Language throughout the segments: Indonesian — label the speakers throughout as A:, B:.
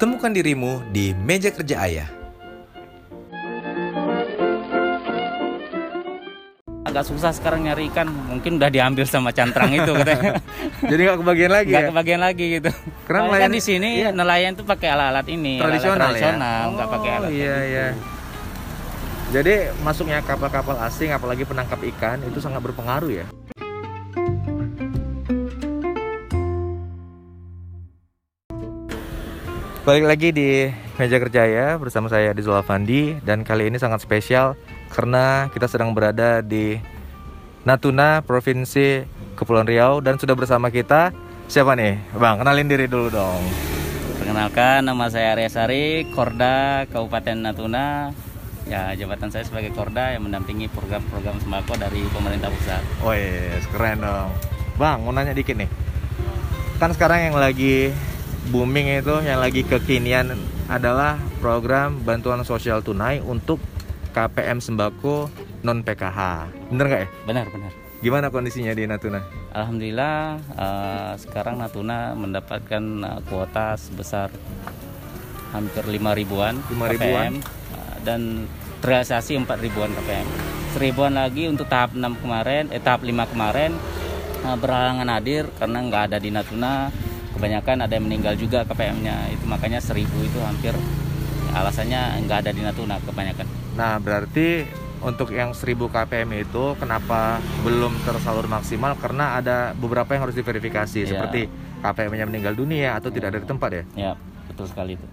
A: Temukan dirimu di meja kerja ayah.
B: agak susah sekarang nyari ikan mungkin udah diambil sama cantrang itu katanya
A: Jadi nggak kebagian lagi
B: nggak
A: ya?
B: kebagian lagi gitu
A: Karena
B: karena
A: nelayan-
B: di sini
A: iya.
B: nelayan tuh pakai alat-alat ini alat-alat
A: Tradisional ya?
B: tradisional nggak pakai alat
A: Oh iya iya. Jadi masuknya kapal-kapal asing apalagi penangkap ikan itu sangat berpengaruh ya. Balik lagi di meja kerja ya bersama saya di Zulafandi dan kali ini sangat spesial karena kita sedang berada di Natuna, Provinsi Kepulauan Riau dan sudah bersama kita siapa nih? Bang, kenalin diri dulu dong.
B: perkenalkan nama saya Arya Sari Korda Kabupaten Natuna ya jabatan saya sebagai Korda yang mendampingi program-program sembako dari pemerintah pusat
A: Oh, Wes, iya, keren dong. Bang, mau nanya dikit nih. Kan sekarang yang lagi booming itu, yang lagi kekinian adalah program bantuan sosial tunai untuk KPM sembako non PKH. Bener nggak ya?
B: benar-benar
A: Gimana kondisinya di Natuna?
B: Alhamdulillah eh, sekarang Natuna mendapatkan eh, kuota sebesar hampir 5 ribuan
A: 5 ribuan.
B: KPM eh, dan terrealisasi 4 ribuan KPM. Seribuan lagi untuk tahap 6 kemarin, eh, tahap 5 kemarin eh, berhalangan hadir karena nggak ada di Natuna. Kebanyakan ada yang meninggal juga KPM-nya. Itu makanya 1000 itu hampir alasannya nggak ada di Natuna kebanyakan.
A: Nah, berarti untuk yang 1000 KPM itu kenapa belum tersalur maksimal karena ada beberapa yang harus diverifikasi
B: Iya.
A: seperti KPM-nya meninggal dunia atau tidak ada di tempat ya?
B: Ya, betul sekali itu.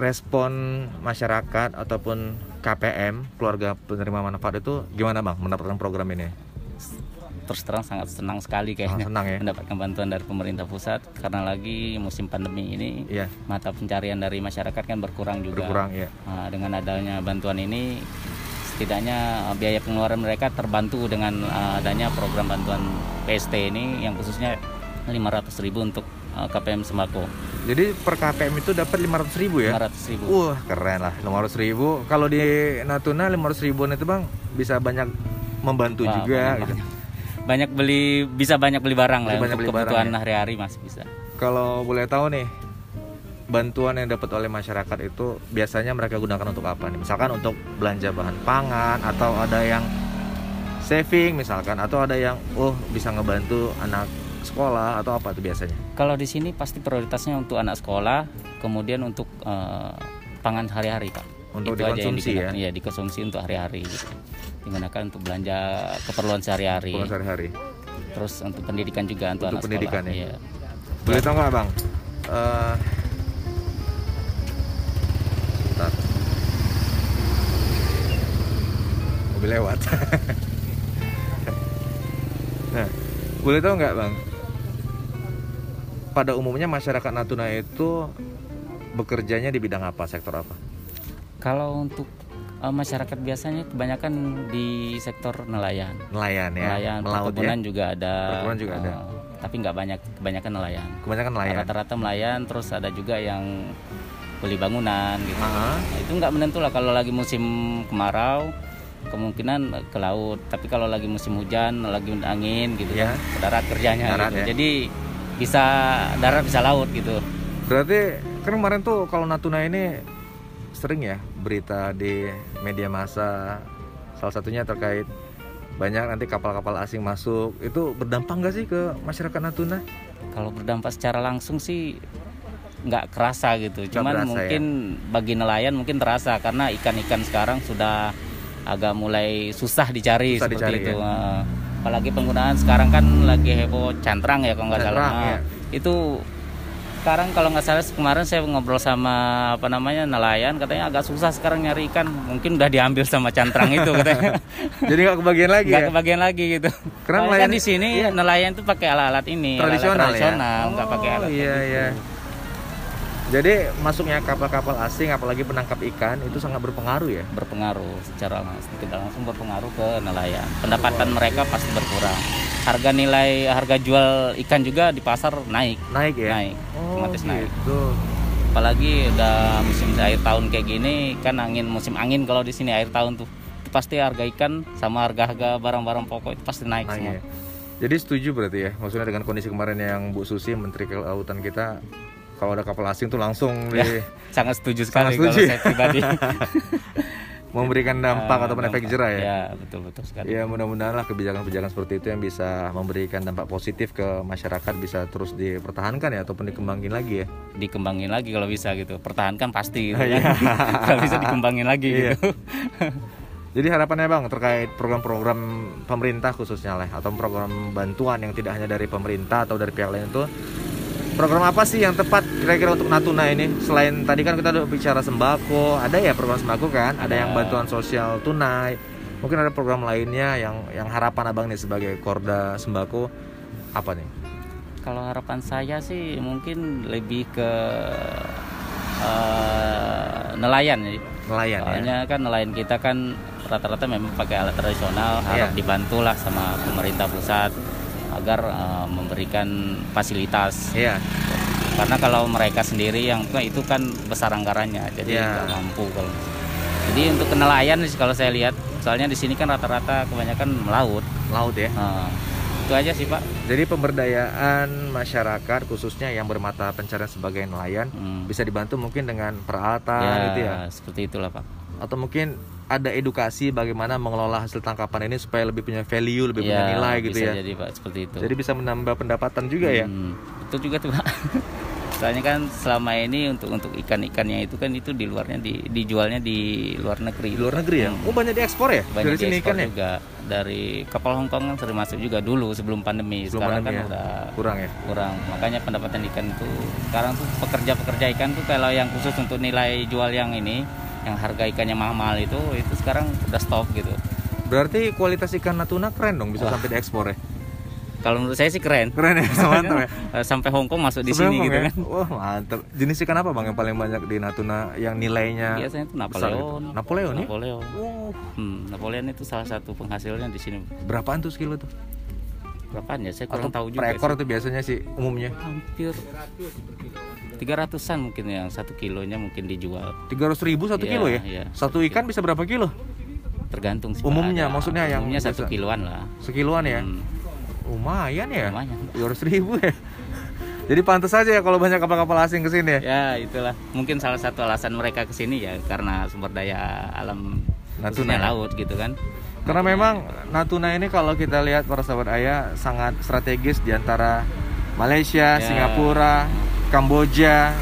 A: respon masyarakat ataupun KPM keluarga penerima manfaat itu gimana bang mendapatkan program ini?
B: terus terang sangat senang sekali
A: Ah,
B: kayaknya
A: senang ya?
B: mendapatkan bantuan dari pemerintah pusat karena lagi musim pandemi ini
A: Iya
B: mata pencarian dari masyarakat kan berkurang juga.
A: berkurang ya.
B: Nah, dengan adanya bantuan ini setidaknya eh, biaya pengeluaran mereka terbantu dengan eh, adanya program bantuan PST ini yang khususnya 500.000 untuk eh, KPM sembako.
A: Jadi per KPM itu dapat 500 ribu ya?
B: 500.000.
A: Wah keren lah 500 ribu. Kalau di Natuna 500 ribuan itu bang bisa banyak membantu
B: Wah,
A: juga.
B: banyak-
A: gitu.
B: banyak. Banyak beli bisa banyak beli barang lah
A: Beli banyak
B: untuk
A: beli barang
B: kebutuhan
A: ya.
B: hari-hari masih bisa.
A: Kalau boleh tahu nih bantuan yang dapat oleh masyarakat itu biasanya mereka gunakan untuk apa nih? Misalkan untuk belanja bahan pangan atau ada yang saving misalkan atau ada yang oh bisa ngebantu anak sekolah atau apa tuh biasanya?
B: Kalau di sini pasti prioritasnya untuk anak sekolah, kemudian untuk eh, pangan hari-hari pak.
A: Untuk
B: Itu aja yang
A: dikonsumsi ya?
B: digunakan. Iya, dikonsumsi untuk hari-hari. Gitu. Digunakan untuk belanja keperluan sehari-hari.
A: Pengeluaran sehari-hari.
B: Terus untuk pendidikan juga untuk,
A: Untuk
B: anak
A: pendidikan
B: sekolah.
A: ya?
B: Iya.
A: Boleh tahu nggak bang? Eh, Sebentar. Mobil lewat. nah, boleh tahu nggak bang? Pada umumnya masyarakat Natuna itu bekerjanya di bidang apa, sektor apa?
B: Kalau untuk eh, masyarakat biasanya kebanyakan di sektor nelayan.
A: Nelayan ya,
B: Nelayan,
A: melaut ya.
B: perkebunan juga ada.
A: Perkebunan juga ada.
B: Eh, tapi nggak banyak, kebanyakan nelayan.
A: Kebanyakan nelayan.
B: Rata-rata nelayan, terus ada juga yang beli bangunan gitu.
A: Ah,
B: Nah, itu nggak menentu lah kalau lagi musim kemarau kemungkinan ke laut tapi kalau lagi musim hujan lagi angin gitu
A: Ya.
B: ya ke darat kerjanya
A: Darat,
B: gitu.
A: ya.
B: jadi bisa darat bisa laut gitu
A: Berarti kan kemarin tuh kalau Natuna ini sering ya berita di media massa salah satunya terkait banyak nanti kapal-kapal asing masuk itu berdampak nggak sih ke masyarakat Natuna?
B: kalau berdampak secara langsung sih nggak kerasa gitu cuman
A: kerasa, ya.
B: mungkin bagi nelayan mungkin terasa karena ikan-ikan sekarang sudah agak mulai susah dicari
A: Susah
B: seperti
A: dicari, ya.
B: itu Eh, apalagi penggunaan sekarang kan lagi heboh cantrang ya kalau nggak salah
A: Cantrang,
B: Nah,
A: ya.
B: itu sekarang kalau nggak salah kemarin saya ngobrol sama apa namanya nelayan katanya agak susah sekarang nyari ikan mungkin udah diambil sama cantrang itu katanya
A: Jadi nggak kebagian lagi
B: nggak
A: ya?
B: kebagian lagi gitu.
A: Karena
B: Soalnya
A: nelayan-
B: kan di sini nelayan tuh pakai alat-alat ini, alat-alat
A: Tradisional ya?
B: tradisional, nggak pakai
A: Oh
B: alat. gitu.
A: iya iya. Jadi masuknya kapal-kapal asing apalagi penangkap ikan itu sangat berpengaruh ya.
B: Berpengaruh secara langsung, tidak langsung berpengaruh ke nelayan. Pendapatan mereka pasti berkurang. Harga nilai harga jual ikan juga di pasar naik,
A: Naik ya.
B: naik,
A: Oh
B: otomatis naik.
A: gitu.
B: Apalagi udah musim air tahun kayak gini, kan angin musim angin kalau di sini air tahun tuh itu pasti harga ikan sama harga-harga barang-barang pokok itu pasti naik,
A: Naik
B: semua.
A: ya. Jadi setuju berarti ya maksudnya dengan kondisi kemarin yang Bu Susi Menteri Kelautan kita kalau ada kapal asing tuh langsung
B: Ya,
A: di-
B: sangat setuju sekali
A: Sangat
B: kalau
A: setuju.
B: saya pribadi.
A: memberikan dampak ataupun
B: Eh,
A: efek
B: dampak.
A: jerah ya.
B: Ya, betul-betul sekali.
A: Ya mudah-mudahan lah kebijakan-kebijakan seperti itu yang bisa memberikan dampak positif ke masyarakat bisa terus dipertahankan ya ataupun dikembangin lagi ya.
B: Dikembangin lagi kalau bisa gitu. Pertahankan pasti gitu kan.
A: Iya.
B: kalau bisa dikembangin lagi
A: Iya.
B: gitu.
A: Jadi harapannya bang terkait program-program pemerintah khususnya lah atau program bantuan yang tidak hanya dari pemerintah atau dari pihak lain itu program apa sih yang tepat kira-kira untuk Natuna ini selain tadi kan kita udah bicara sembako ada ya program sembako kan ada yang
B: Ada.
A: bantuan sosial tunai mungkin ada program lainnya yang yang harapan abang nih sebagai korda sembako apa nih
B: Kalau harapan saya sih mungkin lebih ke eh, nelayan ya.
A: nelayan ya
B: Soalnya kan nelayan kita kan rata-rata memang pakai alat tradisional harap
A: Iya.
B: dibantulah sama pemerintah pusat agar eh, memberikan fasilitas
A: Iya,
B: karena kalau mereka sendiri yang itu kan besar anggarannya jadi
A: Iya.
B: nggak mampu kalau jadi untuk nelayan sih kalau saya lihat soalnya di sini kan rata-rata kebanyakan melaut
A: laut ya.
B: Nah, itu aja sih pak
A: Jadi pemberdayaan masyarakat khususnya yang bermata pencarian sebagai nelayan
B: Hmm.
A: bisa dibantu mungkin dengan peralatan
B: ya,
A: gitu ya
B: seperti itulah pak
A: atau mungkin ada edukasi bagaimana mengelola hasil tangkapan ini supaya lebih punya value, lebih
B: Ya,
A: punya nilai gitu
B: bisa
A: ya.
B: jadi pak seperti itu
A: Jadi bisa menambah pendapatan juga ya.
B: Hmm, itu juga tuh pak soalnya kan selama ini untuk untuk ikan-ikannya itu kan itu di luarnya di dijualnya di luar negeri
A: Di luar negeri ya.
B: Hmm.
A: Oh banyak diekspor ya?
B: banyak
A: Dari sini
B: diekspor
A: kan ya?
B: juga dari kapal Hong Kong kan sering masuk juga dulu sebelum pandemi
A: Sebelum
B: sekarang kan
A: pandemi ya.
B: udah
A: Kurang ya.
B: kurang makanya pendapatan ikan tuh sekarang tuh pekerja-pekerja ikan tuh kalau yang khusus untuk nilai jual yang ini yang harga ikannya mahal itu itu sekarang udah stop gitu
A: Berarti kualitas ikan Natuna keren dong bisa sampai diekspor ya.
B: kalau menurut saya sih keren
A: Keren ya, mantap ya.
B: Eh, sampai Hong Kong masuk di
A: Sebenarnya
B: sini
A: Bang
B: gitu
A: ya?
B: kan
A: Wah, mantap. Jenis ikan apa Bang yang paling banyak di Natuna yang nilainya
B: biasanya tuh
A: besar gitu?
B: Iya, Napoleon
A: Napoleon ya?
B: Napoleon
A: Wow.
B: Hmm, Napoleon itu salah satu penghasilnya di sini
A: Berapaan tuh sekilo tuh?
B: berapaan ya saya kurang tahu juga
A: per
B: sih.
A: ekor tuh biasanya sih umumnya
B: hampir 300-an mungkin yang satu kilonya mungkin dijual
A: 300.000 ribu satu
B: Iya,
A: kilo ya?
B: iya.
A: Satu ikan bisa berapa kilo?
B: tergantung sih Pak.
A: Umumnya,
B: Ada-
A: maksudnya yang
B: umumnya satu
A: biasa.
B: kiloan lah
A: Sekiloan ya?
B: Hmm,
A: Lumayan ya?
B: lumayan.
A: 300.000 ribu ya? Jadi pantas aja ya kalau banyak kapal-kapal asing kesini ya?
B: ya itulah mungkin salah satu alasan mereka ke sini ya karena sumber daya alam
A: Natuna
B: khususnya
A: ya?
B: laut gitu kan
A: Karena memang Natuna ini kalau kita lihat para sahabat ayah sangat strategis di antara Malaysia,
B: Ya.
A: Singapura, Kamboja,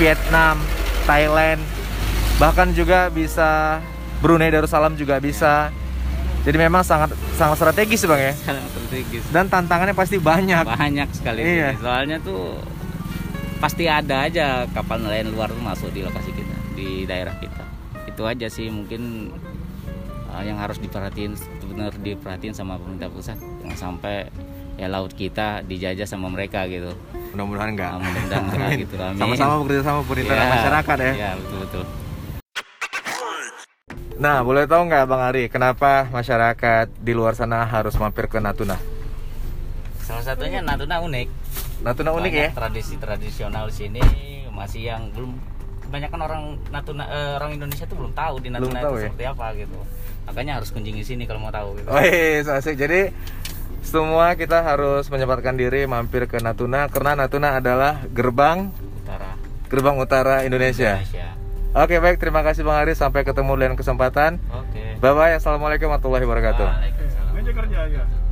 A: Vietnam, Thailand, bahkan juga bisa Brunei Darussalam juga bisa. Jadi memang sangat sangat strategis bang ya.
B: sangat strategis
A: Dan tantangannya pasti banyak.
B: gitu. banyak sekali di
A: Iya.
B: sini. soalnya tuh pasti ada aja kapal nelayan luar tuh masuk di lokasi kita di daerah kita itu aja sih mungkin uh, yang harus diperhatiin benar diperhatiin sama pemerintah pusat jangan sampai ya laut kita dijajah sama mereka gitu
A: Mudah-mudahan enggak.
B: Ah, mudah-mudahan enggak
A: Amin.
B: gitu, amin.
A: Ya. Sama-sama bekerja sama pemerintah dan
B: Ya,
A: masyarakat ya.
B: ya betul betul
A: Nah, boleh tahu nggak Bang Ari, kenapa masyarakat di luar sana harus mampir ke Natuna?
B: salah satunya Natuna unik
A: Natuna unik ya?
B: Banyak tradisi tradisional sini masih yang belum kebanyakan orang Natuna eh, orang Indonesia tuh belum tahu di
A: Belum
B: Natuna
A: tahu
B: itu
A: ya? Oh.
B: seperti apa gitu makanya harus kunjungi sini kalau mau tahu gitu.
A: Wih, so iya, asik. Jadi semua kita harus menyempatkan diri mampir ke Natuna karena Natuna adalah gerbang
B: utara
A: gerbang utara Indonesia.
B: Indonesia
A: Oke, baik. Terima kasih Bang Ari. Sampai ketemu di lain kesempatan.
B: oke
A: Bye bye. Assalamualaikum warahmatullahi wabarakatuh.
B: Waalaikumsalam.
C: Ini kerja aja.